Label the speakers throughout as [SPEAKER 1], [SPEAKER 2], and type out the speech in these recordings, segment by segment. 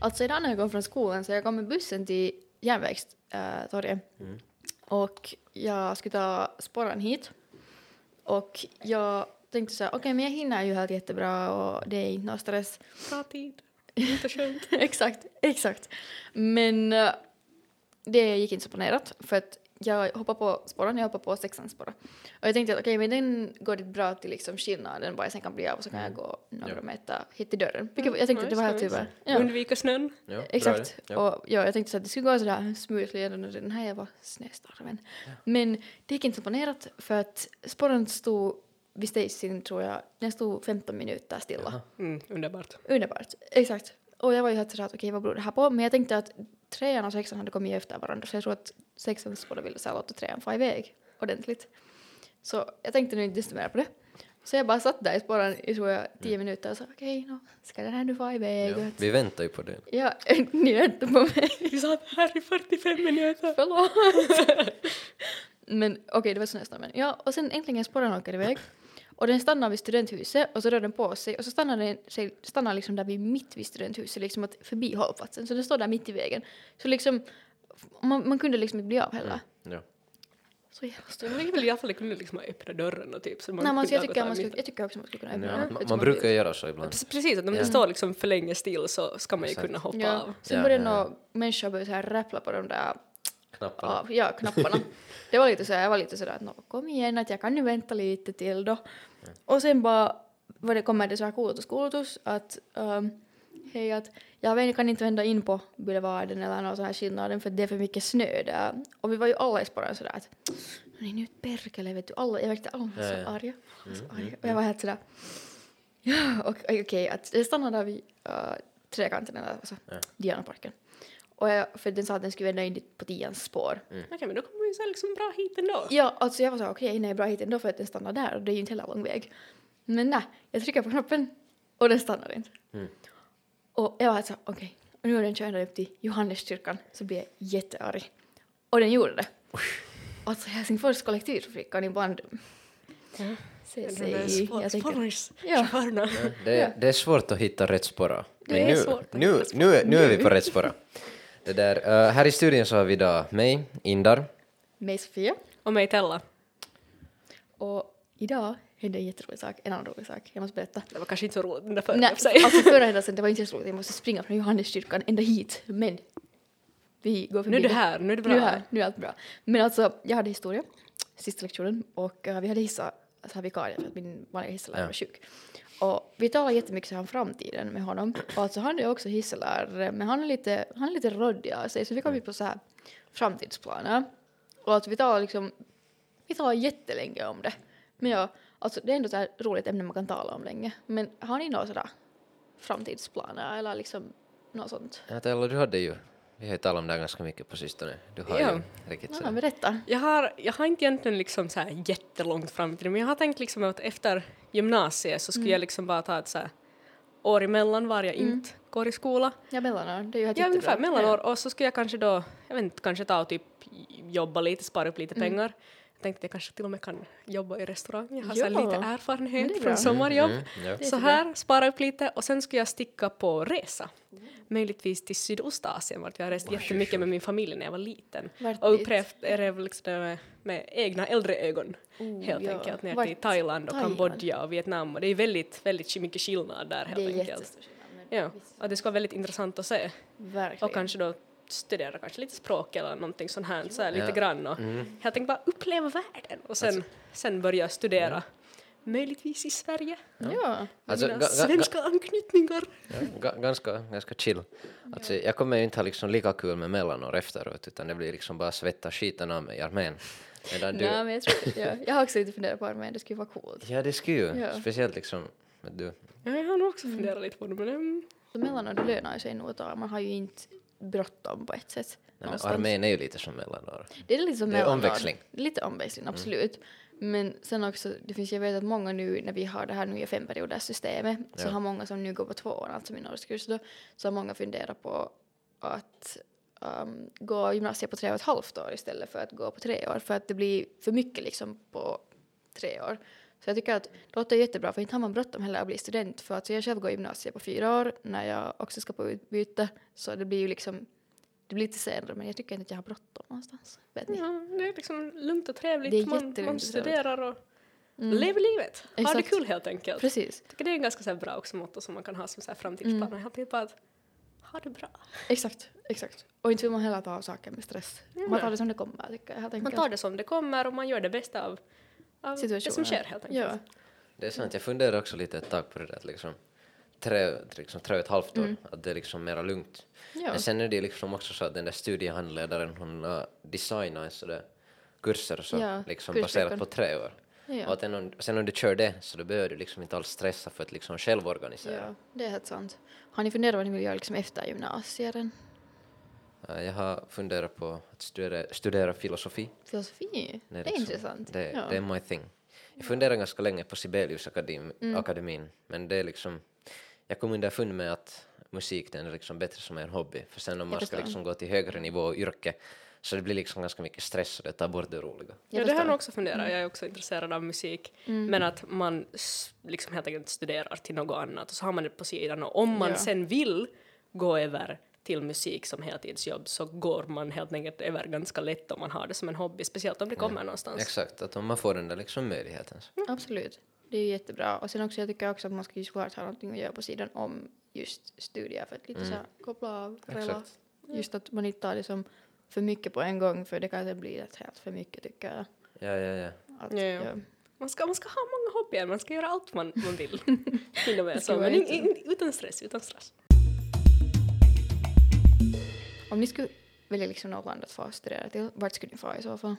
[SPEAKER 1] Alltså idag när jag går från skolan så jag kom med bussen till järnvägstorget.
[SPEAKER 2] Mm.
[SPEAKER 1] Och jag skulle ta spåren hit. Och jag tänkte så här, okej men jag hinner ju helt jättebra och det är inte någon stress.
[SPEAKER 2] Bra tid. Inte skönt.
[SPEAKER 1] exakt, exakt. Men eh, det gick inte så planerat för att jag hoppade på spåren, jag hoppade på sexans spår. Och jag tänkte att okej, men den går det bra till liksom skillnaden bara jag sen kan bli av och så kan jag gå några
[SPEAKER 3] Ja.
[SPEAKER 1] meter hit till dörren. Vilket
[SPEAKER 2] Mm,
[SPEAKER 1] jag tänkte att det var
[SPEAKER 2] nice,
[SPEAKER 1] helt typ
[SPEAKER 2] nice.
[SPEAKER 1] ja.
[SPEAKER 2] Undvika snön.
[SPEAKER 3] Ja, bra
[SPEAKER 1] Exakt.
[SPEAKER 3] det. Ja.
[SPEAKER 1] Och ja, jag tänkte så att det skulle gå sådär smoothly ändå när den här jag var snöstormen. Men det gick inte som planerat för att spåren stod vid station tror jag, den stod 15 minuter stilla.
[SPEAKER 3] Jaha.
[SPEAKER 2] Mm, underbart.
[SPEAKER 1] Underbart, exakt. Och jag var ju helt sådär att okej vad beror det här på? Men jag tänkte att trean och sexan hade kommit efter varandra så jag tror att sexan spårade ville så här låta trean fara iväg ordentligt. Så jag tänkte nu inte desto mer på det. Så jag bara satt där i spåren i tror jag tio minuter och sa okej, nå, ska den här nu fara iväg?
[SPEAKER 3] Mm. Ja. Vi väntar ju på det.
[SPEAKER 1] Ja, ni väntar på mig.
[SPEAKER 2] Vi satt här i 45 minuter.
[SPEAKER 1] Förlåt. Men okej, det var snöstormen. Ja, och sen äntligen spåren åker iväg. Och den stannar vid studenthuset och så rör den på sig och så stannar den sig, stannar liksom där vid mitt vid studenthuset, liksom att förbi hållplatsen. Så den står där mitt i vägen. Så liksom, man, man kunde liksom inte bli av
[SPEAKER 2] Mm.
[SPEAKER 1] heller.
[SPEAKER 3] Mm. Ja.
[SPEAKER 1] Så jävla stort.
[SPEAKER 2] Så man kunde i alla fall kunde liksom öppna dörren och typ. Så man
[SPEAKER 1] Nej, man,
[SPEAKER 2] kunde
[SPEAKER 1] så jag,
[SPEAKER 2] ha gått
[SPEAKER 1] tycker
[SPEAKER 2] där
[SPEAKER 1] man
[SPEAKER 2] mitt
[SPEAKER 1] skulle, jag tycker också man skulle kunna öppna
[SPEAKER 3] Ja.
[SPEAKER 1] den.
[SPEAKER 3] Man,
[SPEAKER 1] utan
[SPEAKER 3] man brukar göra så ibland.
[SPEAKER 2] Pre- Precis, att om
[SPEAKER 3] Ja.
[SPEAKER 2] det står liksom för länge still så ska man ju
[SPEAKER 3] Exakt.
[SPEAKER 2] kunna hoppa
[SPEAKER 1] Ja,
[SPEAKER 2] av.
[SPEAKER 1] sen
[SPEAKER 3] Ja,
[SPEAKER 1] började
[SPEAKER 3] ja, ja.
[SPEAKER 1] nog människor börja så här rappla på de där
[SPEAKER 3] Knapparna.
[SPEAKER 1] av, ja, knapparna. Det var lite så här, jag var lite sådär att nå, kom igen att jag kan nu vänta lite till då. Och sen bara var det, kommer det så här kulutuskuulutus att um, hej att jag vet, kan inte vända in på boulevarden eller någon så här skillnaden för det är för mycket snö där. Och vi var ju alla i spåren sådär att nej nu perkele vet du alla, jag väckte alla var
[SPEAKER 3] Ja, Mm,
[SPEAKER 1] så
[SPEAKER 3] ja.
[SPEAKER 1] arga. alla så arga. Och jag var helt sådär ja och okej att jag stannade där vid uh, trekanten eller alltså,
[SPEAKER 3] Ja.
[SPEAKER 1] Dianaparken. Och jag, för den sa att den skulle vända in dit på tians spår.
[SPEAKER 3] Mm.
[SPEAKER 2] Okej, men då kommer vi så här liksom bra hit ändå.
[SPEAKER 1] Ja, alltså jag var så här, okej, nej, bra hit ändå för att den stannar där och det är ju inte hela lång väg. Men nej, jag trycker på knappen och den stannar inte.
[SPEAKER 3] Mm.
[SPEAKER 1] Och jag var så här, okej, och nu har den kört ända upp till Johanneskyrkan så blir jag jättearg. Och den gjorde det. Alltså Helsingfors kollektivtrafik kan ibland
[SPEAKER 2] Ja.
[SPEAKER 1] se
[SPEAKER 2] De där
[SPEAKER 1] sig...
[SPEAKER 2] spå-
[SPEAKER 1] Jag tänker, Ja.
[SPEAKER 2] Spårarna. Ja.
[SPEAKER 3] Det,
[SPEAKER 1] Ja.
[SPEAKER 3] det är svårt att hitta rätt spåra.
[SPEAKER 1] Det
[SPEAKER 3] Men
[SPEAKER 1] är
[SPEAKER 3] nu,
[SPEAKER 1] svårt att
[SPEAKER 3] nu,
[SPEAKER 1] hitta
[SPEAKER 3] nu, är- nu är vi på rätt spåra. Det där, eh, här i studion så har vi idag mig, Indar.
[SPEAKER 1] mig Sofia
[SPEAKER 2] Och mig Tella.
[SPEAKER 1] och idag hände en jätterolig sak, en annan rolig sak, jag måste berätta.
[SPEAKER 2] Det var kanske inte så roligt den där förra
[SPEAKER 1] Nej,
[SPEAKER 2] för sig.
[SPEAKER 1] alltså förra händelsen, det var inte så roligt, jag måste springa från Johanneskyrkan ända hit, men vi går förbi
[SPEAKER 2] Nu är du
[SPEAKER 1] det.
[SPEAKER 2] här, nu är det bra.
[SPEAKER 1] Nu är, här, nu är allt bra. Men alltså, jag hade historia, sista lektionen, och eh, vi hade hissa, så här vikarie för att min vanliga hisselärare
[SPEAKER 3] Ja.
[SPEAKER 1] var sjuk. Och vi talade jättemycket så här om framtiden med honom. Och alltså han är också hisselärare, men han är lite, han är lite råddig av sig, så vi kom ju på så här framtidsplaner. Och att vi talar liksom, vi talar jättelänge om det. Men ja, alltså det är ändå så här roligt ämne man kan tala om länge. Men har ni några sådär framtidsplaner eller liksom något sånt?
[SPEAKER 3] Ja, Tella, du hade ju, vi har ju talat om det här ganska mycket på sistone. Du har
[SPEAKER 2] Ja.
[SPEAKER 3] ju riktigt
[SPEAKER 1] Ja,
[SPEAKER 3] sådär.
[SPEAKER 1] berätta.
[SPEAKER 2] Jag har, jag har inte egentligen liksom så här jättelångt fram till det, men jag har tänkt liksom att efter gymnasiet så skulle jag liksom bara ta ett så här år emellan var jag inte går i skola.
[SPEAKER 1] Ja, mellanår, det är ju helt
[SPEAKER 2] Ja,
[SPEAKER 1] jättebra.
[SPEAKER 2] ungefär mellanår. Och så skulle jag kanske då, jag vet inte, kanske ta och typ jobba lite, spara upp
[SPEAKER 1] Mm.
[SPEAKER 2] lite pengar. Jag tänkte att jag kanske till och med kan jobba i restaurang. Jag har så här
[SPEAKER 1] Ja.
[SPEAKER 2] lite
[SPEAKER 1] Men det är
[SPEAKER 2] erfarenhet
[SPEAKER 1] bra.
[SPEAKER 2] från sommarjobb.
[SPEAKER 3] Mm, ja.
[SPEAKER 1] Det är
[SPEAKER 2] Så
[SPEAKER 1] jättebra.
[SPEAKER 2] här, spara upp lite och sen skulle jag sticka på resa. Möjligtvis till Sydostasien vart jag har rest jättemycket med min familj när jag var liten.
[SPEAKER 1] Vart
[SPEAKER 2] och
[SPEAKER 1] dit?
[SPEAKER 2] upplevt Erev liksom med, med egna äldre ögon
[SPEAKER 1] Oh,
[SPEAKER 2] helt
[SPEAKER 1] ja.
[SPEAKER 2] enkelt ner
[SPEAKER 1] Vart?
[SPEAKER 2] till Thailand och
[SPEAKER 1] Thailand?
[SPEAKER 2] Kambodja och Vietnam och det är väldigt, väldigt mycket skillnad där helt
[SPEAKER 1] Det är
[SPEAKER 2] enkelt.
[SPEAKER 1] jättestor skillnad. men
[SPEAKER 2] Ja,
[SPEAKER 1] visst,
[SPEAKER 2] och det ska vara väldigt intressant att se
[SPEAKER 1] Verkligen.
[SPEAKER 2] och kanske då studera kanske lite språk eller någonting sånt här så här lite
[SPEAKER 3] Ja.
[SPEAKER 2] grann och helt enkelt bara uppleva världen och sen, sen börja studera. Möjligtvis i Sverige
[SPEAKER 1] Ja.
[SPEAKER 3] Alltså,
[SPEAKER 2] mina
[SPEAKER 3] ga- ga- ga-
[SPEAKER 2] svenska anknytningar.
[SPEAKER 3] Ja, ga- ganska, ganska chill. Alltså, jag kommer ju inte ha liksom lika kul med mellanår efteråt utan det blir liksom bara svetta skiten av mig i armén. Medan du,
[SPEAKER 1] Nej, men jag, tror, ja. jag har också lite funderat på armén, det skulle vara coolt.
[SPEAKER 3] ja det skulle ju,
[SPEAKER 1] Ja.
[SPEAKER 3] speciellt liksom att du,
[SPEAKER 2] Ja, jag har nog också funderat lite på det men mm,
[SPEAKER 1] Så mellanår det lönar sig nog att ta, man har ju inte bråttom på ett sätt.
[SPEAKER 3] nej, men
[SPEAKER 1] någonstans.
[SPEAKER 3] armén är ju lite som mellanår.
[SPEAKER 1] Det är lite som
[SPEAKER 3] Det är
[SPEAKER 1] mellanår.
[SPEAKER 3] omväxling. Mm.
[SPEAKER 1] Lite omväxling, absolut. Men sen också, det finns, jag vet att många nu när vi har det här nya femperioderssystemet så
[SPEAKER 3] Ja.
[SPEAKER 1] har många som nu går på tvåan, alltså min årskurs då, så har många funderat på att um, gå gymnasiet på tre och ett halvt år istället för att gå på tre år för att det blir för mycket liksom på tre år. Så jag tycker att det låter jättebra för inte har man bråttom heller att bli student för att så jag själv går gymnasiet på fyra år när jag också ska på utbyte så det blir ju liksom det blir lite senare men jag tycker inte att jag har bråttom någonstans. Vet ni?
[SPEAKER 2] Ja, det är liksom lugnt och trevligt.
[SPEAKER 1] Det är
[SPEAKER 2] man,
[SPEAKER 1] jättelugnt
[SPEAKER 2] man
[SPEAKER 1] och
[SPEAKER 2] studerar och
[SPEAKER 1] Mm.
[SPEAKER 2] lever livet. Har det
[SPEAKER 1] Exakt.
[SPEAKER 2] kul helt enkelt.
[SPEAKER 1] Precis,
[SPEAKER 2] Jag tycker det är en ganska så här, bra också motto som man kan ha som så här, framtidsplan. Mm. Helt enkelt bara att ha det bra.
[SPEAKER 1] exakt, exakt. Och inte vill man heller ta av saker med stress.
[SPEAKER 2] Mm.
[SPEAKER 1] Man tar det som det kommer tycker jag helt
[SPEAKER 2] Man
[SPEAKER 1] enkelt.
[SPEAKER 2] tar det som det kommer och man gör det bästa av, av det som
[SPEAKER 1] Situationen.
[SPEAKER 2] sker helt enkelt.
[SPEAKER 1] Ja.
[SPEAKER 3] Det är sant, jag funderar också lite ett tag på det där att liksom tre, liksom tre och ett halvt år,
[SPEAKER 1] Mm.
[SPEAKER 3] att det är liksom mera lugnt.
[SPEAKER 1] Ja.
[SPEAKER 3] Men sen är det liksom också så att den där studiehandledaren hon har designat en sådär kurser och så,
[SPEAKER 1] Ja,
[SPEAKER 3] liksom
[SPEAKER 1] kursveckan.
[SPEAKER 3] baserat på tre år. Och
[SPEAKER 1] Ja.
[SPEAKER 3] att sen, om- sen om du kör det så då behöver du liksom inte alls stressa för att liksom själv organisera.
[SPEAKER 1] ja, det är helt sant. Har ni funderat vad ni vill göra liksom efter gymnasiet?
[SPEAKER 3] Äh, Jag har funderat på att studera, studera filosofi.
[SPEAKER 1] Filosofi? Det är,
[SPEAKER 3] liksom-
[SPEAKER 1] intressant.
[SPEAKER 3] Det,
[SPEAKER 1] ja.
[SPEAKER 3] det är my thing. Jag funderar ganska länge på Sibelius
[SPEAKER 1] Mm.
[SPEAKER 3] akadim, akademin, men det är liksom... Jag kom underfund med att musik den är liksom bättre som en hobby, för sen om man ska
[SPEAKER 1] förstår.
[SPEAKER 3] liksom gå till högre nivå och yrke så det blir liksom ganska mycket stress och det tar bort det
[SPEAKER 1] Jag
[SPEAKER 3] roliga.
[SPEAKER 2] Ja, det har jag
[SPEAKER 1] förstår. Mm.
[SPEAKER 2] nog också funderat. Jag är också intresserad av musik. Men att man s- liksom helt enkelt studerar till något annat och så har man det på sidan. Och om man
[SPEAKER 1] Ja.
[SPEAKER 2] sen vill gå över till musik som heltidsjobb så går man helt enkelt över ganska lätt om man har det som en hobby, speciellt om det kommer
[SPEAKER 1] Alltså.
[SPEAKER 2] någonstans.
[SPEAKER 3] Exakt, att om man får den där liksom möjligheten. Så.
[SPEAKER 2] Mm.
[SPEAKER 1] Absolut. Det är jättebra. Och sen också, jag tycker också att man ska ju såklart ha någonting att göra på sidan om just studier för att lite
[SPEAKER 2] Mm.
[SPEAKER 1] så här koppla av, rela.
[SPEAKER 3] Exakt.
[SPEAKER 1] Just att man inte tar det som för mycket på en gång för det kan det bli rätt helt för mycket tycker jag.
[SPEAKER 3] Ja, ja, ja.
[SPEAKER 1] Att,
[SPEAKER 2] Ja, ja.
[SPEAKER 1] ja.
[SPEAKER 2] Man, ska, man ska ha många hobbyer, man ska göra allt man, man vill. Hinna med,
[SPEAKER 1] ska
[SPEAKER 2] så,
[SPEAKER 1] vara
[SPEAKER 2] men in,
[SPEAKER 1] lite-
[SPEAKER 2] in, utan stress, utan stress.
[SPEAKER 1] Om ni skulle välja liksom något land att få studera till, vart skulle ni få i så fall?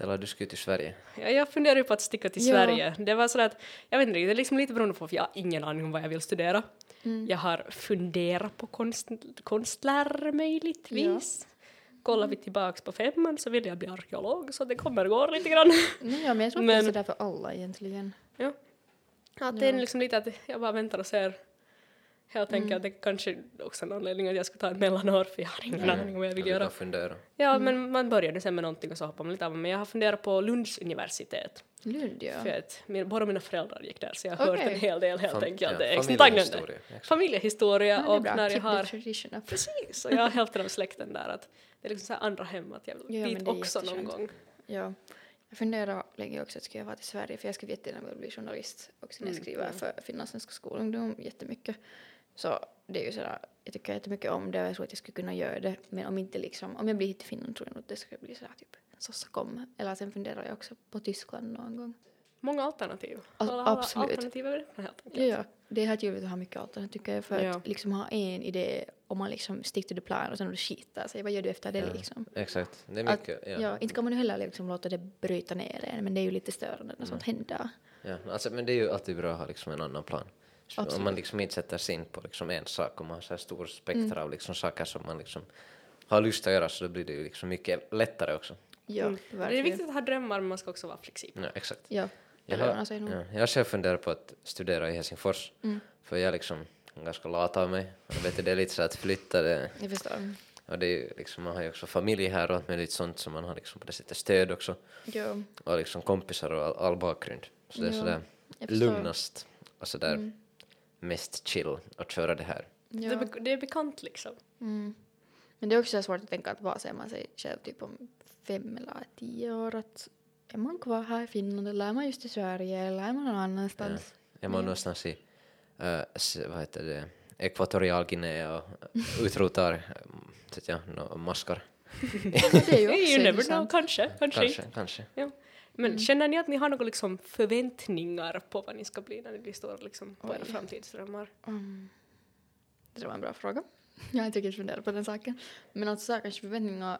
[SPEAKER 3] Eller du skulle till Sverige.
[SPEAKER 2] Ja, jag funderar ju på att sticka till
[SPEAKER 1] Ja.
[SPEAKER 2] Sverige. Det var sådär att, jag vet inte, det är liksom lite beroende på, för jag har ingen aning om vad jag vill studera. Jag har funderat på konst, konstlärar möjligtvis. Kollar vi tillbaks på femman så vill jag bli arkeolog, så det kommer gå lite grann.
[SPEAKER 1] Mm, ja, men jag tror att det är
[SPEAKER 2] Men-
[SPEAKER 1] sådär för alla egentligen.
[SPEAKER 2] ja. Att det är liksom lite att jag bara väntar och ser. Jag tänker att det kanske också är en anledning att jag ska ta ett mellanår, för jag har ingen
[SPEAKER 3] Mm.
[SPEAKER 2] aning om vad jag vill
[SPEAKER 3] Eller du
[SPEAKER 2] göra.
[SPEAKER 3] kan fundera.
[SPEAKER 2] Ja, men man börjar nu sen med någonting och så hoppar man lite av. Men jag har funderat på Lunds universitet.
[SPEAKER 1] Lund ja.
[SPEAKER 2] För att min, båda mina föräldrar gick där så jag har hört
[SPEAKER 1] Okej.
[SPEAKER 2] en hel del helt
[SPEAKER 3] Fam-
[SPEAKER 2] enkelt.
[SPEAKER 3] ja,
[SPEAKER 2] det är extra
[SPEAKER 3] familjehistoria,
[SPEAKER 2] taggande.
[SPEAKER 3] exakt.
[SPEAKER 2] Familjehistoria
[SPEAKER 1] Ja, det är
[SPEAKER 2] och
[SPEAKER 1] bra. Typ
[SPEAKER 2] när jag
[SPEAKER 1] Keep the
[SPEAKER 2] har
[SPEAKER 1] tradition up.
[SPEAKER 2] precis, och jag har hälften av släkten där att det är liksom så här andra hem att jag vill
[SPEAKER 1] Ja, men
[SPEAKER 2] dit
[SPEAKER 1] det är
[SPEAKER 2] också någon
[SPEAKER 1] jätteskönt.
[SPEAKER 2] gång.
[SPEAKER 1] Ja. Jag funderar länge också att ska jag vara till Sverige för jag skulle jättegärna vilja bli journalist och sen jag skriver för finlandssvenska skolungdom jättemycket. Så det är ju sådär, jag tycker jättemycket om det och jag tror att jag skulle kunna göra det men om inte liksom, om jag blir hit till Finland tror jag nog att det skulle bli sådär typ sossa kom. Eller sen funderar jag också på Tyskland någon gång.
[SPEAKER 2] Många alternativ.
[SPEAKER 1] Al-
[SPEAKER 2] Alla, alla
[SPEAKER 1] absolut.
[SPEAKER 2] alternativ är öppna helt enkelt.
[SPEAKER 1] Ja, ja. Det är helt ljuvligt att ha mycket alternativ tycker jag för
[SPEAKER 2] Ja.
[SPEAKER 1] att liksom ha en idé om man liksom stick to the plan och sen om du skiter sig, vad gör du efter det liksom?
[SPEAKER 3] Exakt, det är
[SPEAKER 1] Att-
[SPEAKER 3] mycket.
[SPEAKER 1] Ja.
[SPEAKER 3] ja.
[SPEAKER 1] inte kan man ju heller liksom låta det bryta ner en men det är ju lite störande när sånt händer.
[SPEAKER 3] Ja, alltså, men det är ju alltid bra att ha liksom en annan plan. Så
[SPEAKER 1] Absolut.
[SPEAKER 3] om man liksom inte sätter sig in på liksom en sak och man har så här stor spektra
[SPEAKER 1] Mm.
[SPEAKER 3] av liksom saker som man liksom har lust att göra så då blir det ju liksom mycket lättare också.
[SPEAKER 1] Ja, Mm, verkligen.
[SPEAKER 2] Det är viktigt att ha drömmar men man ska också vara flexibel.
[SPEAKER 3] Ja, exakt.
[SPEAKER 1] Ja, det
[SPEAKER 3] Jag
[SPEAKER 1] lönar
[SPEAKER 3] har,
[SPEAKER 1] sig Mm. nog.
[SPEAKER 3] ja, jag har själv funderat på att studera i Helsingfors för jag är liksom ganska lat av mig. Och vet du, det är lite så att flytta det,
[SPEAKER 1] Jag förstår.
[SPEAKER 3] och det är ju liksom, man har ju också familj här och allt möjligt sånt så man har liksom på det sättet stöd också
[SPEAKER 1] Ja,
[SPEAKER 3] och liksom kompisar och all, all bakgrund. Så det är
[SPEAKER 1] Ja,
[SPEAKER 3] sådär
[SPEAKER 1] jag förstår. Mm.
[SPEAKER 3] lugnast och sådär mest chill att köra det här.
[SPEAKER 1] ja.
[SPEAKER 2] Det, är be- det är bekant liksom.
[SPEAKER 1] mm. Men det är också svårt att tänka att vad ser man sig själv typ om fem eller tio år att är man kvar här i Finland eller är man just i Sverige eller är man någon annanstans?
[SPEAKER 3] Är man någonstans i eh, s- vad heter det, ekvatorialguinea och utrotar mm, så att jag, no, maskar.
[SPEAKER 1] Det är ju
[SPEAKER 2] You
[SPEAKER 1] också
[SPEAKER 2] never know,
[SPEAKER 1] intressant. Mm.
[SPEAKER 2] kanske. kanske.
[SPEAKER 3] Kanske,
[SPEAKER 2] inte.
[SPEAKER 3] kanske.
[SPEAKER 2] Ja. Men känner ni att ni har några liksom förväntningar på vad ni ska bli när ni står liksom på era
[SPEAKER 1] Oj.
[SPEAKER 2] framtidsdrömmar?
[SPEAKER 1] Mm. Det var en bra fråga. Jag har inte riktigt funderat på den saken. Men alltså så här, kanske förväntningar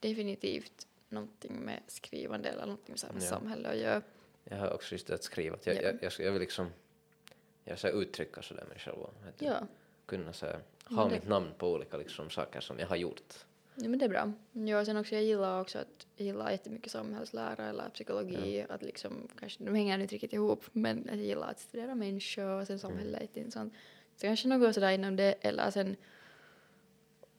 [SPEAKER 1] definitivt någonting med skrivande eller någonting så här med
[SPEAKER 3] Ja.
[SPEAKER 1] samhälle att göra.
[SPEAKER 3] Jag har också just det att skriva. Att jag,
[SPEAKER 1] Ja.
[SPEAKER 3] jag, jag, jag vill liksom jag så här uttrycka sådär mig själv och vet du,
[SPEAKER 1] Ja.
[SPEAKER 3] kunna så här,
[SPEAKER 1] Men
[SPEAKER 3] ha
[SPEAKER 1] det-
[SPEAKER 3] mitt namn på olika liksom, saker som jag har gjort.
[SPEAKER 1] Ja, men det är bra. Ja, sen också, jag gillar också att jag gillar jättemycket samhällslära eller psykologi. Att liksom, kanske, de hänger inte riktigt ihop, men att jag gillar att studera människor och sen samhället. är intressant. Så kanske något sådär inom det eller sen,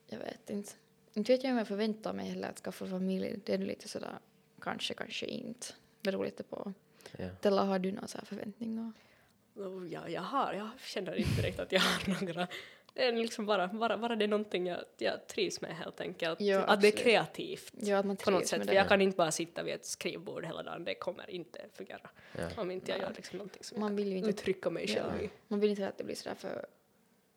[SPEAKER 1] jag vet inte. Inte vet jag om jag förväntar mig heller att skaffa familj. Det är nog lite sådär, kanske, kanske inte. Beror lite på.
[SPEAKER 3] Ja.
[SPEAKER 1] Stella, har du några så här förväntningar?
[SPEAKER 2] Oh, ja, jag har, jag känner inte direkt att jag har några. Det är liksom bara, bara, bara det är någonting jag, jag trivs med helt enkelt.
[SPEAKER 1] Ja,
[SPEAKER 2] att det är
[SPEAKER 1] absolut.
[SPEAKER 2] kreativt
[SPEAKER 1] Ja, att man
[SPEAKER 2] på något
[SPEAKER 1] trivs
[SPEAKER 2] sätt.
[SPEAKER 1] med
[SPEAKER 2] För
[SPEAKER 1] det.
[SPEAKER 2] jag kan inte bara sitta vid ett skrivbord hela dagen, det kommer inte fungera.
[SPEAKER 3] Ja.
[SPEAKER 2] Om inte jag gör liksom någonting som
[SPEAKER 1] Man
[SPEAKER 2] jag
[SPEAKER 1] vill ju
[SPEAKER 2] kan
[SPEAKER 1] inte att,
[SPEAKER 2] uttrycka mig
[SPEAKER 1] Ja.
[SPEAKER 2] själv i.
[SPEAKER 1] man vill inte att det blir sådär för,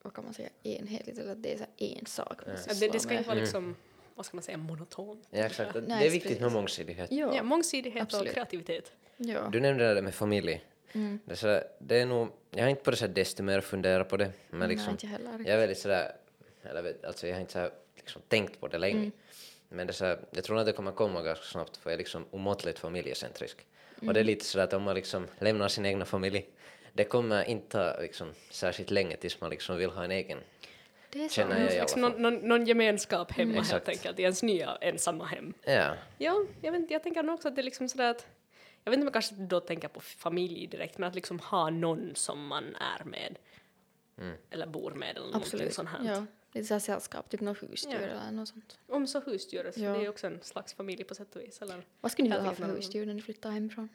[SPEAKER 1] vad kan man säga, enhetligt eller att det är så här en sak man
[SPEAKER 2] Ja, det, det ska
[SPEAKER 1] med.
[SPEAKER 2] inte vara liksom, vad ska man säga, monotont.
[SPEAKER 3] Ja, exakt. Det
[SPEAKER 1] Nej,
[SPEAKER 3] är viktigt med
[SPEAKER 1] precis.
[SPEAKER 3] mångsidighet.
[SPEAKER 1] Ja,
[SPEAKER 2] Ja,
[SPEAKER 1] ja.
[SPEAKER 2] mångsidighet
[SPEAKER 1] absolut.
[SPEAKER 2] och kreativitet.
[SPEAKER 1] ja.
[SPEAKER 3] Du nämnde det där med familj.
[SPEAKER 1] Mm.
[SPEAKER 3] Det, är så här, det är nog, jag har inte på det sättet desto mer funderat på det. Men
[SPEAKER 1] Nej,
[SPEAKER 3] liksom,
[SPEAKER 1] inte jag heller.
[SPEAKER 3] jag är väldigt sådär, eller vet- alltså jag har inte så här, liksom, tänkt på det länge.
[SPEAKER 1] Mm.
[SPEAKER 3] Men det är så här, jag tror nog att det kommer komma ganska snabbt för jag är liksom omåttligt familjecentrisk. Och det
[SPEAKER 1] Mm.
[SPEAKER 3] är lite sådär att om man liksom lämnar sin egna familj, det kommer inte ta liksom, särskilt länge tills man liksom vill ha en egen.
[SPEAKER 1] Det är så.
[SPEAKER 3] Känner jag i alla
[SPEAKER 2] Liksom
[SPEAKER 3] fall.
[SPEAKER 2] någon, någon, någon gemenskap hemma
[SPEAKER 1] Mm.
[SPEAKER 2] helt
[SPEAKER 3] Exakt.
[SPEAKER 2] enkelt, i ens nya ensamma hem.
[SPEAKER 3] Ja,
[SPEAKER 2] Ja, jag, vet, inte, jag tänker nog också att det är liksom sådär att jag vet inte om jag kanske då tänker på familj direkt, men att liksom ha någon som man är med eller bor med eller någonting
[SPEAKER 1] Absolut.
[SPEAKER 2] sånt här.
[SPEAKER 1] Ja. Lite såhär sällskap, typ något husdjur
[SPEAKER 2] Ja.
[SPEAKER 1] eller något sånt.
[SPEAKER 2] Om så husdjuret, för
[SPEAKER 1] Ja.
[SPEAKER 2] det är ju också en slags familj på sätt och vis. Eller?
[SPEAKER 1] Vad skulle ni
[SPEAKER 2] Jag
[SPEAKER 1] vilja ha
[SPEAKER 2] tycker
[SPEAKER 1] för
[SPEAKER 2] man-
[SPEAKER 1] husdjur när ni flyttar hemifrån?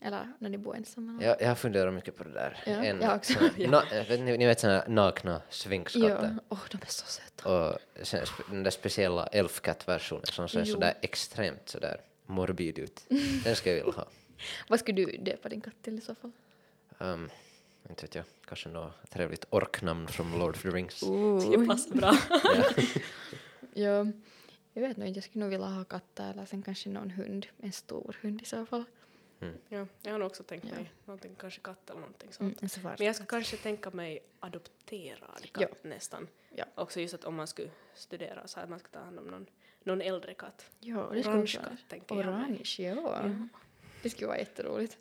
[SPEAKER 1] Eller när ni bor ensamma? eller?
[SPEAKER 3] jag, jag har funderat mycket på det där.
[SPEAKER 1] Ja,
[SPEAKER 3] en,
[SPEAKER 1] jag också.
[SPEAKER 3] sån här na, vet ni, ni vet såna här nakna
[SPEAKER 1] Ja,
[SPEAKER 3] svingskatter.
[SPEAKER 1] åh de är så söta.
[SPEAKER 3] Och sen sp- den där speciella Elfcat-versionen som ser
[SPEAKER 1] Jo.
[SPEAKER 3] sådär extremt sådär morbid ut. Den ska jag vilja ha.
[SPEAKER 1] Vad skulle du döpa din katt till i så fall?
[SPEAKER 3] Ehm, inte vet jag, kanske något trevligt orknamn från Lord of the Rings.
[SPEAKER 1] Oh.
[SPEAKER 2] Det passar bra.
[SPEAKER 1] Ja, jag vet nog inte, jag skulle nog vilja ha katter eller sen kanske någon hund, en stor hund i så fall.
[SPEAKER 2] ja, jag har nog också tänkt
[SPEAKER 1] Ja.
[SPEAKER 2] mig någonting, kanske katt eller någonting sånt.
[SPEAKER 1] Mm, en svart
[SPEAKER 2] Men jag skulle
[SPEAKER 1] katt.
[SPEAKER 2] kanske tänka mig adopterad
[SPEAKER 1] Ja.
[SPEAKER 2] katt nästan.
[SPEAKER 1] Ja.
[SPEAKER 2] Också just att om man skulle studera så att man skulle ta hand om någon, någon äldre katt.
[SPEAKER 1] Ja, det
[SPEAKER 2] Orange
[SPEAKER 1] skulle vara
[SPEAKER 2] katt tänker jag mig.
[SPEAKER 1] Orange, ja. Det skulle vara jätteroligt.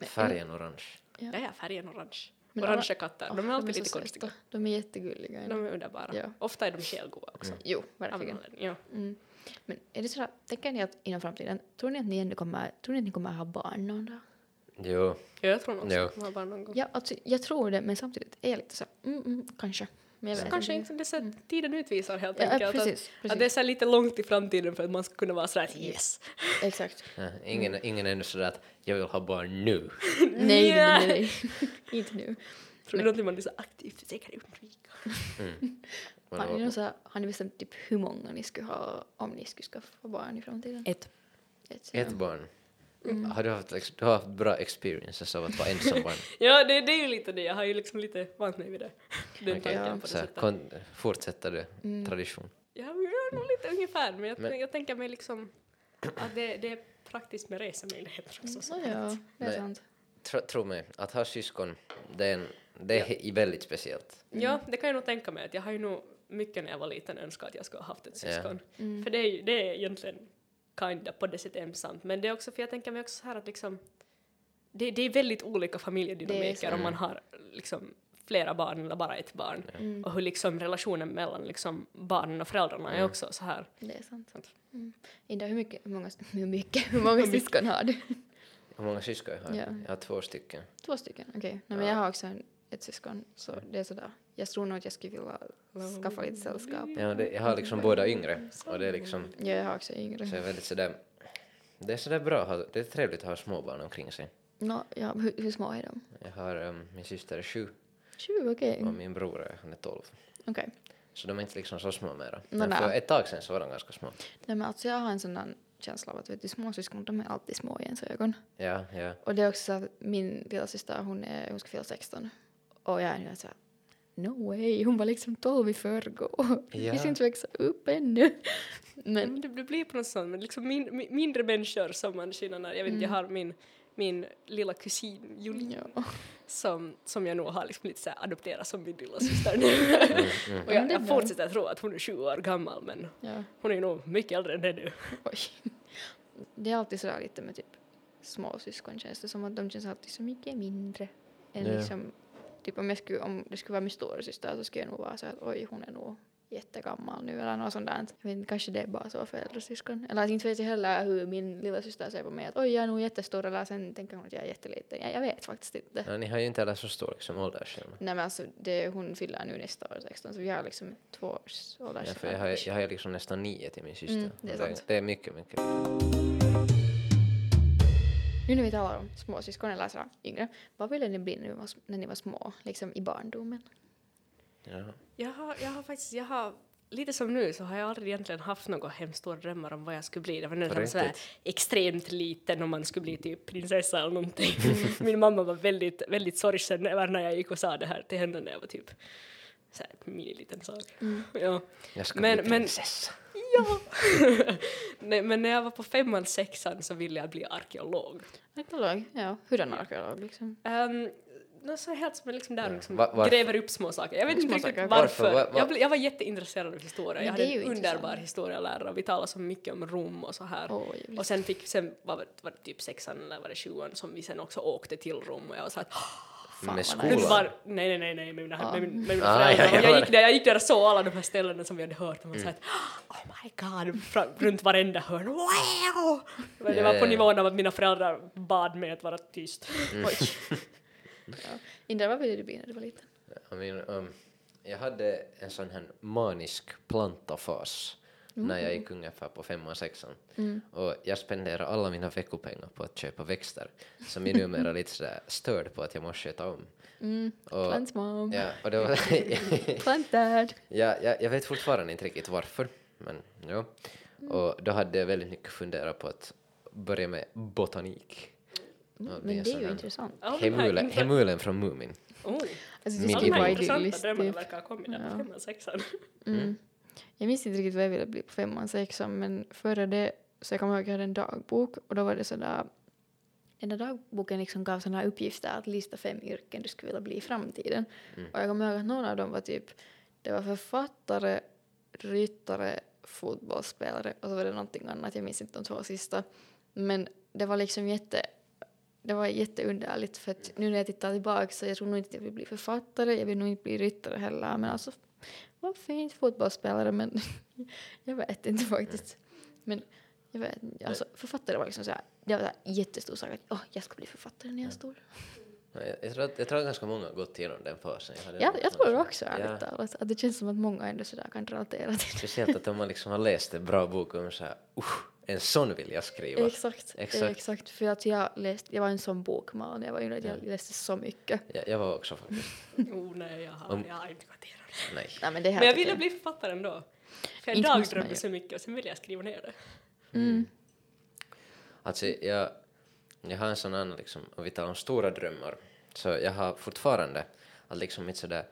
[SPEAKER 3] Färgen orange.
[SPEAKER 1] Ja.
[SPEAKER 2] Ja, ja, färgen orange.
[SPEAKER 1] Men alla-
[SPEAKER 2] Orangea katter, de är
[SPEAKER 1] Åh,
[SPEAKER 2] alltid
[SPEAKER 1] så
[SPEAKER 2] lite
[SPEAKER 1] söta.
[SPEAKER 2] konstiga.
[SPEAKER 1] De är jättegulliga. ändå.
[SPEAKER 2] De är underbara.
[SPEAKER 1] Ja.
[SPEAKER 2] Ofta är de självgoda
[SPEAKER 3] Mm.
[SPEAKER 2] också.
[SPEAKER 1] Jo,
[SPEAKER 2] Av någon
[SPEAKER 1] verkligen.
[SPEAKER 2] anledning, Ja.
[SPEAKER 1] Mm. Men är det så här, tänker ni att inom framtiden, tror ni att ni ändå kommer, tror ni att ni kommer ha barn någon dag?
[SPEAKER 3] Jo,
[SPEAKER 2] ja, jag tror nog också
[SPEAKER 3] Ja.
[SPEAKER 2] att de har barn någon gång.
[SPEAKER 1] Ja, alltså, jag tror det, men samtidigt är jag lite så här, mm, mm, kanske. Men jag
[SPEAKER 2] Så
[SPEAKER 1] vet
[SPEAKER 2] kanske inte, det är så att tiden utvisar helt
[SPEAKER 1] Ja,
[SPEAKER 2] enkelt.
[SPEAKER 1] ja,
[SPEAKER 2] att-
[SPEAKER 1] precis.
[SPEAKER 2] Att det är
[SPEAKER 1] precis.
[SPEAKER 2] så här lite långt i framtiden för att man ska kunna vara sådär att yes.
[SPEAKER 1] Exakt.
[SPEAKER 3] ja, Eh, ingen, ingen är ännu sådär att jag vill ha barn nu.
[SPEAKER 1] Nej, nej, nej. nej. inte nu.
[SPEAKER 2] Tror du någonting man blir så aktivt säkert undvika?
[SPEAKER 3] Men
[SPEAKER 1] Har ni,
[SPEAKER 3] då-
[SPEAKER 1] någon så här, har ni bestämt typ hur många ni skulle ha om ni skulle skaffa barn i framtiden?
[SPEAKER 2] Ett.
[SPEAKER 1] Ett, ja.
[SPEAKER 3] Ett barn.
[SPEAKER 1] Mm.
[SPEAKER 3] Har du, haft, liksom- du har haft bra experiences av att vara ensam barn.
[SPEAKER 2] Ja, det, det är ju lite det. Jag har ju liksom lite vant mig vid det. Den
[SPEAKER 3] Okej,
[SPEAKER 2] tanken
[SPEAKER 1] ja.
[SPEAKER 2] på det
[SPEAKER 3] Så här,
[SPEAKER 2] sättet.
[SPEAKER 3] kon, fortsätter du
[SPEAKER 1] Mm.
[SPEAKER 3] tradition?
[SPEAKER 2] Ja, men jag är nog lite ungefär, men jag,
[SPEAKER 3] Men-
[SPEAKER 2] jag tänker mig liksom att det, det är praktiskt med resemöjligheter också. Så.
[SPEAKER 1] Ja, ja, det är
[SPEAKER 3] Nej.
[SPEAKER 1] sant.
[SPEAKER 3] Tro, tro mig, att ha syskon, det är, en, det är he- väldigt speciellt.
[SPEAKER 1] Mm.
[SPEAKER 2] Ja, det kan jag nog tänka mig. Att jag har ju nog mycket när jag var liten önskat att jag skulle ha haft ett
[SPEAKER 3] Ja.
[SPEAKER 2] syskon.
[SPEAKER 1] Mm.
[SPEAKER 2] För det är ju det är egentligen kinda på det sättet ensamt. Men det är också, för jag tänker mig också så här att liksom, det, det är väldigt olika
[SPEAKER 1] Det är
[SPEAKER 2] familjedynamiker
[SPEAKER 1] så.
[SPEAKER 2] om man har liksom flera barn eller bara ett barn.
[SPEAKER 1] Mm,
[SPEAKER 2] Och hur liksom relationen mellan liksom barnen och föräldrarna är
[SPEAKER 3] Mm.
[SPEAKER 2] också så här.
[SPEAKER 1] det är sant.
[SPEAKER 2] Sant.
[SPEAKER 1] Mm. Ida, hur mycket, hur många, hur mycket, hur många syskon har du?
[SPEAKER 3] Hur många syskon jag har?
[SPEAKER 1] Ja.
[SPEAKER 3] Jag har två stycken.
[SPEAKER 1] Två stycken, okej. Nej, men
[SPEAKER 3] Ja.
[SPEAKER 1] jag har också en, ett syskon, så det är sådär. Jag tror nog att jag skulle vilja skaffa lite sällskap.
[SPEAKER 3] Ja, det, jag har liksom båda yngre och det är liksom
[SPEAKER 1] Ja, jag har också yngre.
[SPEAKER 3] så jag är väldigt sådär det är sådär bra, att ha- det är trevligt att ha småbarn omkring sig.
[SPEAKER 1] Nå, ja, hur, hur små är de?
[SPEAKER 3] Jag har, um, min syster är sju
[SPEAKER 1] 20, okej.
[SPEAKER 3] och min bror är, han är tolv.
[SPEAKER 1] Okej.
[SPEAKER 3] Så de är inte liksom så små mera.
[SPEAKER 1] Nå,
[SPEAKER 3] Men
[SPEAKER 1] nä.
[SPEAKER 3] för ett tag sedan så var de ganska små.
[SPEAKER 1] Nej men alltså jag har en sån där känsla av att vet du, småsyskon de är alltid små i ens ögon.
[SPEAKER 3] Ja, ja.
[SPEAKER 1] Och det är också så att min lilla syster hon, är, hon ska fylla 16 och jag är nu såhär no way, hon var liksom 12 i förrgår. Vi
[SPEAKER 3] Ja.
[SPEAKER 1] ska inte växa upp ännu. Men
[SPEAKER 2] Men Mm, det, det blir på något sätt, men liksom min, min, mindre människor som man känner när, jag vet inte, jag har min, min lilla kusin Julia
[SPEAKER 1] Mm. ja,
[SPEAKER 2] som, som jag nog har liksom lite så här adopterat som min lilla syster nu.
[SPEAKER 3] Mm,
[SPEAKER 2] Och
[SPEAKER 1] Men
[SPEAKER 2] jag,
[SPEAKER 1] det är
[SPEAKER 2] jag
[SPEAKER 1] bra.
[SPEAKER 2] fortsätter tro att hon är 20 år gammal men
[SPEAKER 1] ja.
[SPEAKER 2] hon är nog mycket äldre än det nu.
[SPEAKER 1] Oj. Det är alltid sådär lite med typ småsyskon känns det som att de känns alltid så mycket mindre. Än
[SPEAKER 3] Ja.
[SPEAKER 1] liksom, typ om, jag skulle, om det skulle vara min stora syster så skulle jag nog vara så att oj hon är nog jättegammal nu eller något sånt där. Jag vet inte, kanske det är bara så för äldre syskon. Eller att inte vet jag heller hur min lilla syster ser på mig att oj jag är nog jättestor eller sen tänker hon att jag är jätteliten. Jag, jag vet faktiskt inte.
[SPEAKER 3] ja ni har ju inte heller så stor liksom, åldersskillnad.
[SPEAKER 1] Nej men alltså det, hon fyller nu nästa år 16 så vi har liksom två års
[SPEAKER 3] Ja, för jag har ju
[SPEAKER 1] åldersskillnad.
[SPEAKER 3] jag har ju liksom nästan nio till min syster.
[SPEAKER 1] Mm, det är
[SPEAKER 3] Och
[SPEAKER 1] sant.
[SPEAKER 3] det är mycket, mycket.
[SPEAKER 1] Nu när vi talar om småsyskon eller sådär yngre, vad ville ni bli när ni var, s- när ni var små, liksom i barndomen?
[SPEAKER 3] Ja.
[SPEAKER 2] Jag har, jag har faktiskt, jag har, lite som nu så har jag aldrig egentligen haft några hemskt stora drömmar om vad jag skulle bli. Det var nästan
[SPEAKER 3] Riktigt.
[SPEAKER 2] sådär extremt liten om man skulle bli typ prinsessa eller någonting. Min mamma var väldigt, väldigt sorgsen över när jag gick och sa det här till henne när jag var typ såhär miniliten sak. Ja.
[SPEAKER 3] Jag ska
[SPEAKER 2] Men-
[SPEAKER 3] bli
[SPEAKER 2] men-
[SPEAKER 3] prinsessa.
[SPEAKER 2] ja. Nej, men när jag var på femman, sexan så ville jag bli arkeolog.
[SPEAKER 1] Arkeolog? Ja, hurdan arkeolog liksom?
[SPEAKER 2] Um, så helt som liksom där
[SPEAKER 3] Ja.
[SPEAKER 2] liksom
[SPEAKER 3] Va- varför?
[SPEAKER 2] gräver upp små saker. Jag vet inte
[SPEAKER 1] Små
[SPEAKER 2] riktigt
[SPEAKER 1] saker.
[SPEAKER 2] varför.
[SPEAKER 3] Varför? Va- va-
[SPEAKER 2] Jag, blev, jag var jätteintresserad av historia.
[SPEAKER 1] Men
[SPEAKER 2] Jag
[SPEAKER 1] det
[SPEAKER 2] hade
[SPEAKER 1] är ju
[SPEAKER 2] en
[SPEAKER 1] intressant.
[SPEAKER 2] underbar historielärare och vi talade så mycket om Rom och så här.
[SPEAKER 1] Åh, vad ljuvligt.
[SPEAKER 2] och sen fick, sen var det, var det typ sexan eller var det sjuan som vi sen också åkte till Rom och jag var så här
[SPEAKER 1] Fan,
[SPEAKER 3] Med
[SPEAKER 1] vad
[SPEAKER 3] skolan.
[SPEAKER 2] men
[SPEAKER 1] nice.
[SPEAKER 2] var, nej, nej, nej, nej, med mina,
[SPEAKER 1] Ja.
[SPEAKER 2] med, min- med mina
[SPEAKER 3] Ah,
[SPEAKER 2] föräldrar.
[SPEAKER 3] ja, ja,
[SPEAKER 2] Och jag,
[SPEAKER 3] ja.
[SPEAKER 2] gick där, jag gick där och såg alla de här ställena som vi hade hört och man mm. oh my god, fra, runt varenda hörn, wow! Men det
[SPEAKER 3] Ja,
[SPEAKER 2] var
[SPEAKER 3] ja,
[SPEAKER 2] på
[SPEAKER 3] ja.
[SPEAKER 2] nivån av att mina föräldrar bad mig att vara tyst.
[SPEAKER 1] Oj. ja. Indra, vad ville du bli när du var liten?
[SPEAKER 3] I mean, um, jag hade en sån här manisk plantafas när jag
[SPEAKER 1] Mm.
[SPEAKER 3] gick ungefär på femman, sexan. Och jag spenderade alla mina veckopengar på att köpa växter som jag numera är lite sådär störd på att jag måste sköta om.
[SPEAKER 1] Mm.
[SPEAKER 3] Och,
[SPEAKER 1] Plant mom,
[SPEAKER 3] ja, och det var,
[SPEAKER 1] plant dad.
[SPEAKER 3] ja, ja, jag vet fortfarande inte riktigt varför, men ja.
[SPEAKER 1] Mm.
[SPEAKER 3] Och då hade jag väldigt mycket funderat på att börja med botanik. Och
[SPEAKER 1] Mm,
[SPEAKER 3] bli en
[SPEAKER 1] Men det är
[SPEAKER 3] sån
[SPEAKER 1] ju
[SPEAKER 3] här
[SPEAKER 1] intressant.
[SPEAKER 2] Alla de här
[SPEAKER 3] Hemulen,
[SPEAKER 2] intra-
[SPEAKER 3] hemulen från Mumin.
[SPEAKER 2] Oj,
[SPEAKER 1] Alltså
[SPEAKER 3] Min
[SPEAKER 1] det skulle
[SPEAKER 2] alla de
[SPEAKER 3] idol.
[SPEAKER 1] vara
[SPEAKER 2] här
[SPEAKER 1] idylliskt.
[SPEAKER 2] intressanta drömmarna
[SPEAKER 1] Typ.
[SPEAKER 2] verkar ha kommit där
[SPEAKER 1] Ja.
[SPEAKER 2] på femman, sexan.
[SPEAKER 1] Mm. Jag minns inte riktigt vad jag ville bli på femman, sexan men före det så jag kommer ihåg att jag hade en dagbok och då var det sådär den där dagboken liksom gav sådana här uppgifter att lista fem yrken du skulle vilja bli i framtiden. Och jag kommer ihåg att någon av dem var typ, det var författare, ryttare, fotbollsspelare och så var det någonting annat, jag minns inte de två sista. Men det var liksom jätte, det var jätteunderligt för att nu när jag tittar tillbaka så jag tror nog inte att jag vill bli författare, jag vill nog inte bli ryttare heller men alltså varför inte fotbollsspelare men jag vet inte faktiskt. Men jag vet inte, alltså författare var liksom så här, det var en jättestor sak att åh, jag ska bli författare när jag är stor.
[SPEAKER 3] Ja, Jag, jag, tror att, jag tror att ganska många har gått igenom den fasen. Jag, hade
[SPEAKER 1] Ja,
[SPEAKER 3] nog
[SPEAKER 1] jag
[SPEAKER 3] sån-
[SPEAKER 1] tror också ärligt
[SPEAKER 3] Ja,
[SPEAKER 1] talat att det känns som att många ändå sådär kan relatera till
[SPEAKER 3] speciellt att om man liksom har läst en bra bok om så här, usch, en sån vill jag skriva.
[SPEAKER 1] Exakt,
[SPEAKER 3] Exakt.
[SPEAKER 1] exakt. För att jag läste, jag var en sån bokman när jag var yngre, att jag
[SPEAKER 3] Ja.
[SPEAKER 1] läste så mycket.
[SPEAKER 3] Ja, jag var också faktiskt,
[SPEAKER 2] Oh, nej, jag har,
[SPEAKER 3] Om-
[SPEAKER 2] jag har inte gått igenom det.
[SPEAKER 3] nej.
[SPEAKER 1] Nej, men det här
[SPEAKER 2] Men jag
[SPEAKER 1] tycker
[SPEAKER 2] ville bli författare ändå. För jag
[SPEAKER 1] Inte måste man
[SPEAKER 2] dagdrömde
[SPEAKER 1] ju.
[SPEAKER 2] så mycket och sen ville jag skriva ner det.
[SPEAKER 3] Alltså jag, jag har en sån annan liksom, om vi talar om stora drömmar, så jag har fortfarande att liksom inte sådär,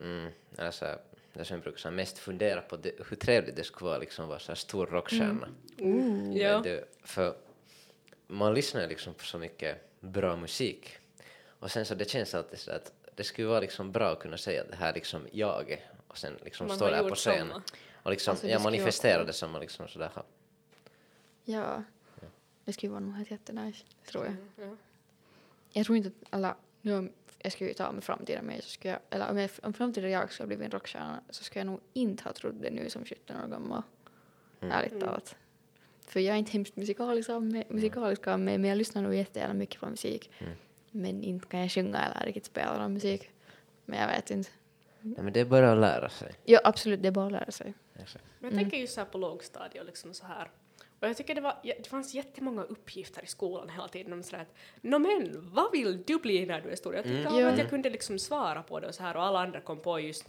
[SPEAKER 3] mm, alltså, det som jag brukar så här mest fundera på det, hur trevligt det skulle vara liksom att vara så här stor rockstjärna.
[SPEAKER 1] Mm.
[SPEAKER 2] Ja.
[SPEAKER 3] Vet du, för man lyssnar ju liksom på så mycket bra musik och sen så det känns alltid så att det skulle vara liksom bra att kunna säga att det här liksom jag är. och sen liksom
[SPEAKER 2] Man
[SPEAKER 3] stå
[SPEAKER 2] har
[SPEAKER 3] där
[SPEAKER 2] gjort
[SPEAKER 3] på scen
[SPEAKER 2] samma.
[SPEAKER 3] och liksom
[SPEAKER 1] Alltså, det
[SPEAKER 3] ja,
[SPEAKER 1] skulle vara
[SPEAKER 3] manifestera
[SPEAKER 1] coolt.
[SPEAKER 3] det som man liksom sådär har.
[SPEAKER 1] Ja. Det skulle vara nog helt jättenice, tror jag. Jag tror inte att alla... Nu om jag skulle ju ta mig framtida mig så skulle jag... Eller om, jag, om framtida jag skulle bli en rockstjärna så skulle jag nog inte ha trott det nu som 17 år gammal. Ärligt talat. För jag är inte hemskt musikalisk av mig, musikalisk av mig men jag lyssnar nog jättegärna mycket på musik. Men inte kan jag sjunga eller riktigt spela någon musik. Men jag vet inte.
[SPEAKER 3] Ja, men det är bara att lära sig.
[SPEAKER 1] Jo, absolut, det är bara att lära sig.
[SPEAKER 3] Exakt.
[SPEAKER 2] Men jag tänker just så här på lågstadiet och liksom så här. Och jag tycker det, var, ja, det fanns jättemånga uppgifter i skolan hela tiden om sådär att nå men, vad vill du bli när du är stor? Jag tyckte alltid
[SPEAKER 1] Mm. Ja.
[SPEAKER 2] att jag kunde liksom svara på det och så här och alla andra kom på just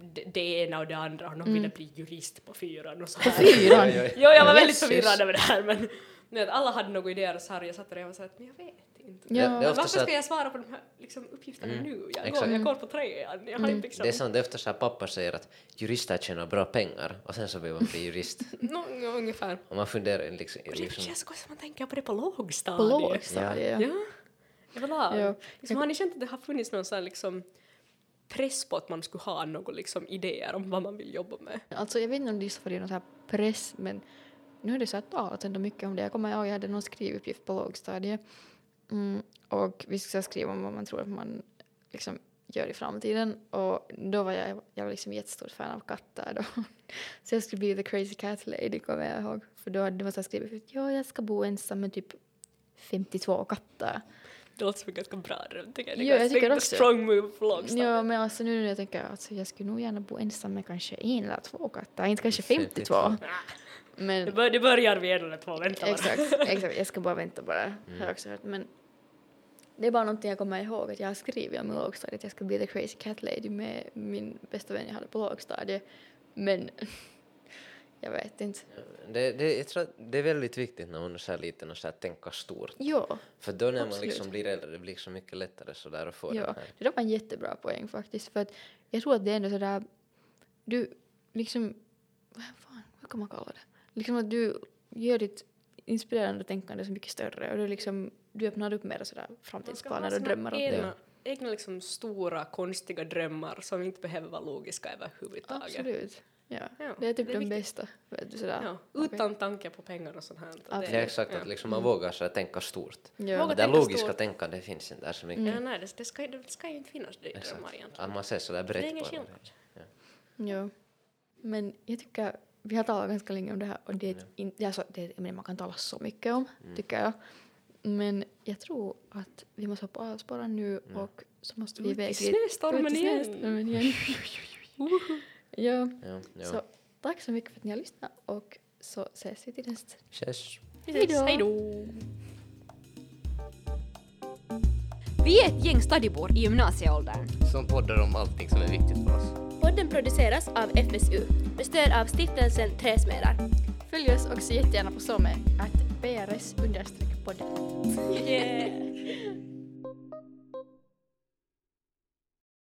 [SPEAKER 2] det, det ena och det andra och någon ville bli jurist på fyran och så här.
[SPEAKER 1] Mm. Fyran!
[SPEAKER 3] Oj, oj.
[SPEAKER 2] Jo, jag var väldigt
[SPEAKER 1] Jesus.
[SPEAKER 2] förvirrad över det här men, men att alla hade några idéer och så här och jag satt där och jag var såhär att men jag vet inte.
[SPEAKER 1] Ja.
[SPEAKER 3] Det, det är ofta
[SPEAKER 2] Varför
[SPEAKER 3] så att
[SPEAKER 2] ska jag svara på de här liksom, uppgifterna
[SPEAKER 1] Mm.
[SPEAKER 2] nu? Jag går,
[SPEAKER 3] Exakt.
[SPEAKER 2] jag går på trean, jag har inte liksom...
[SPEAKER 3] det är sånt, det är ofta så här pappa säger att jurister tjänar bra pengar och sen så vill man bli jurist.
[SPEAKER 2] Nå, ungefär.
[SPEAKER 3] och man funderar liksom...
[SPEAKER 2] Och det
[SPEAKER 3] liksom
[SPEAKER 2] känns så konstigt att man tänker på det på lågstadiet.
[SPEAKER 1] På lågstadiet.
[SPEAKER 2] Ja. Överlag.
[SPEAKER 1] Ja.
[SPEAKER 2] Liksom, har ni känt att det har funnits någon sån här liksom press på att man skulle ha några liksom idéer om vad man vill jobba med?
[SPEAKER 1] Alltså jag vet inte om det just var det någon så här press men nu har det så här talat ändå mycket om det. Jag kommer ihåg jag hade någon skrivuppgift på lågstadiet mm, och vi skulle så här skriva om vad man tror att man liksom gör i framtiden och då var jag, jag var liksom jättestort fan av katter då. Så jag skulle bli the crazy cat lady kommer jag ihåg för då hade det var så här skrivuppgift, ja jag ska bo ensam med typ 52 katter.
[SPEAKER 2] Det låter som en ganska bra dröm tycker jag. Det är
[SPEAKER 1] Jo, jag
[SPEAKER 2] ganska-
[SPEAKER 1] tycker
[SPEAKER 2] det är
[SPEAKER 1] också.
[SPEAKER 2] strong move på lågstadiet.
[SPEAKER 1] Ja men alltså nu när jag tänker alltså jag skulle nog gärna bo ensam med kanske en eller två katter, inte kanske 52.
[SPEAKER 2] Det,
[SPEAKER 1] Men
[SPEAKER 2] bör, det börjar vid en eller två, vänta bara. Mm.
[SPEAKER 1] exakt, exakt, jag ska bara vänta bara. Har jag också hört. Men det är bara någonting jag kommer ihåg att jag har skrivit om i lågstadiet. Jag ska bli the crazy cat lady med min bästa vän jag hade på lågstadiet. Men jag vet inte.
[SPEAKER 3] Det, det, jag tror att det är väldigt viktigt när man är så här liten och så här tänka stort.
[SPEAKER 1] Jo,
[SPEAKER 3] För då när man
[SPEAKER 1] Absolut.
[SPEAKER 3] liksom blir äldre det blir så mycket lättare sådär att
[SPEAKER 1] jo.
[SPEAKER 3] få den här.
[SPEAKER 1] det där var en jättebra poäng faktiskt. För att jag tror att det är ändå sådär, du liksom, vad fan, vad kan man kalla det? Liksom att du gör ditt inspirerande tänkande så mycket större och du liksom, du öppnar upp mer sådär
[SPEAKER 2] Man ska ha
[SPEAKER 1] framtidsplaner och
[SPEAKER 2] sina
[SPEAKER 1] drömmar. om det.
[SPEAKER 2] egna, egna liksom stora konstiga drömmar som inte behöver vara logiska överhuvudtaget.
[SPEAKER 1] Absolut. Ja.
[SPEAKER 2] Ja,
[SPEAKER 1] Det är typ
[SPEAKER 2] det
[SPEAKER 1] den
[SPEAKER 2] är viktigt.
[SPEAKER 1] bästa. Vet du, sådär.
[SPEAKER 2] Ja,
[SPEAKER 1] Okej.
[SPEAKER 2] utan tanke på pengar och sånt här. Det-
[SPEAKER 1] Absolut.
[SPEAKER 3] Det är exakt
[SPEAKER 2] ja.
[SPEAKER 3] att liksom
[SPEAKER 4] Mm.
[SPEAKER 3] man vågar så här tänka stort.
[SPEAKER 1] Ja.
[SPEAKER 2] Våga
[SPEAKER 3] Det där
[SPEAKER 2] tänka
[SPEAKER 3] logiska
[SPEAKER 2] stort. Mm.
[SPEAKER 3] tänkandet finns inte där så
[SPEAKER 1] Mm.
[SPEAKER 3] mycket.
[SPEAKER 2] Ja, nej, det, det, ska, ju- det ska ju inte finnas det i
[SPEAKER 3] Exakt.
[SPEAKER 2] drömmar egentligen.
[SPEAKER 3] Att man ser sådär
[SPEAKER 2] Det är
[SPEAKER 3] brett
[SPEAKER 2] ingen
[SPEAKER 3] på det.
[SPEAKER 2] skillnad.
[SPEAKER 1] ja. Men jag tycker, vi har talat ganska länge om det här och det, är ett in, det, är så, det är ett ämne man kan tala så mycket om, tycker jag. Men jag tror att vi måste hoppa av spåren nu och så måste vi
[SPEAKER 2] Ut i
[SPEAKER 1] iväg
[SPEAKER 2] snöstormen
[SPEAKER 1] ut i
[SPEAKER 2] igen.
[SPEAKER 1] snöstormen igen. ja.
[SPEAKER 3] Ja, ja.
[SPEAKER 1] Så tack så mycket för att ni har lyssnat och så ses vi till nästa
[SPEAKER 3] Tjus.
[SPEAKER 1] Hej då.
[SPEAKER 2] Hej då!
[SPEAKER 5] Vi är ett gäng stadibor i gymnasieåldern.
[SPEAKER 4] som poddar om allting som är viktigt för oss.
[SPEAKER 6] Podden produceras av FSU med stöd av stiftelsen Träsmedar.
[SPEAKER 1] Följ oss också jättegärna på SOME, att PRS-podden.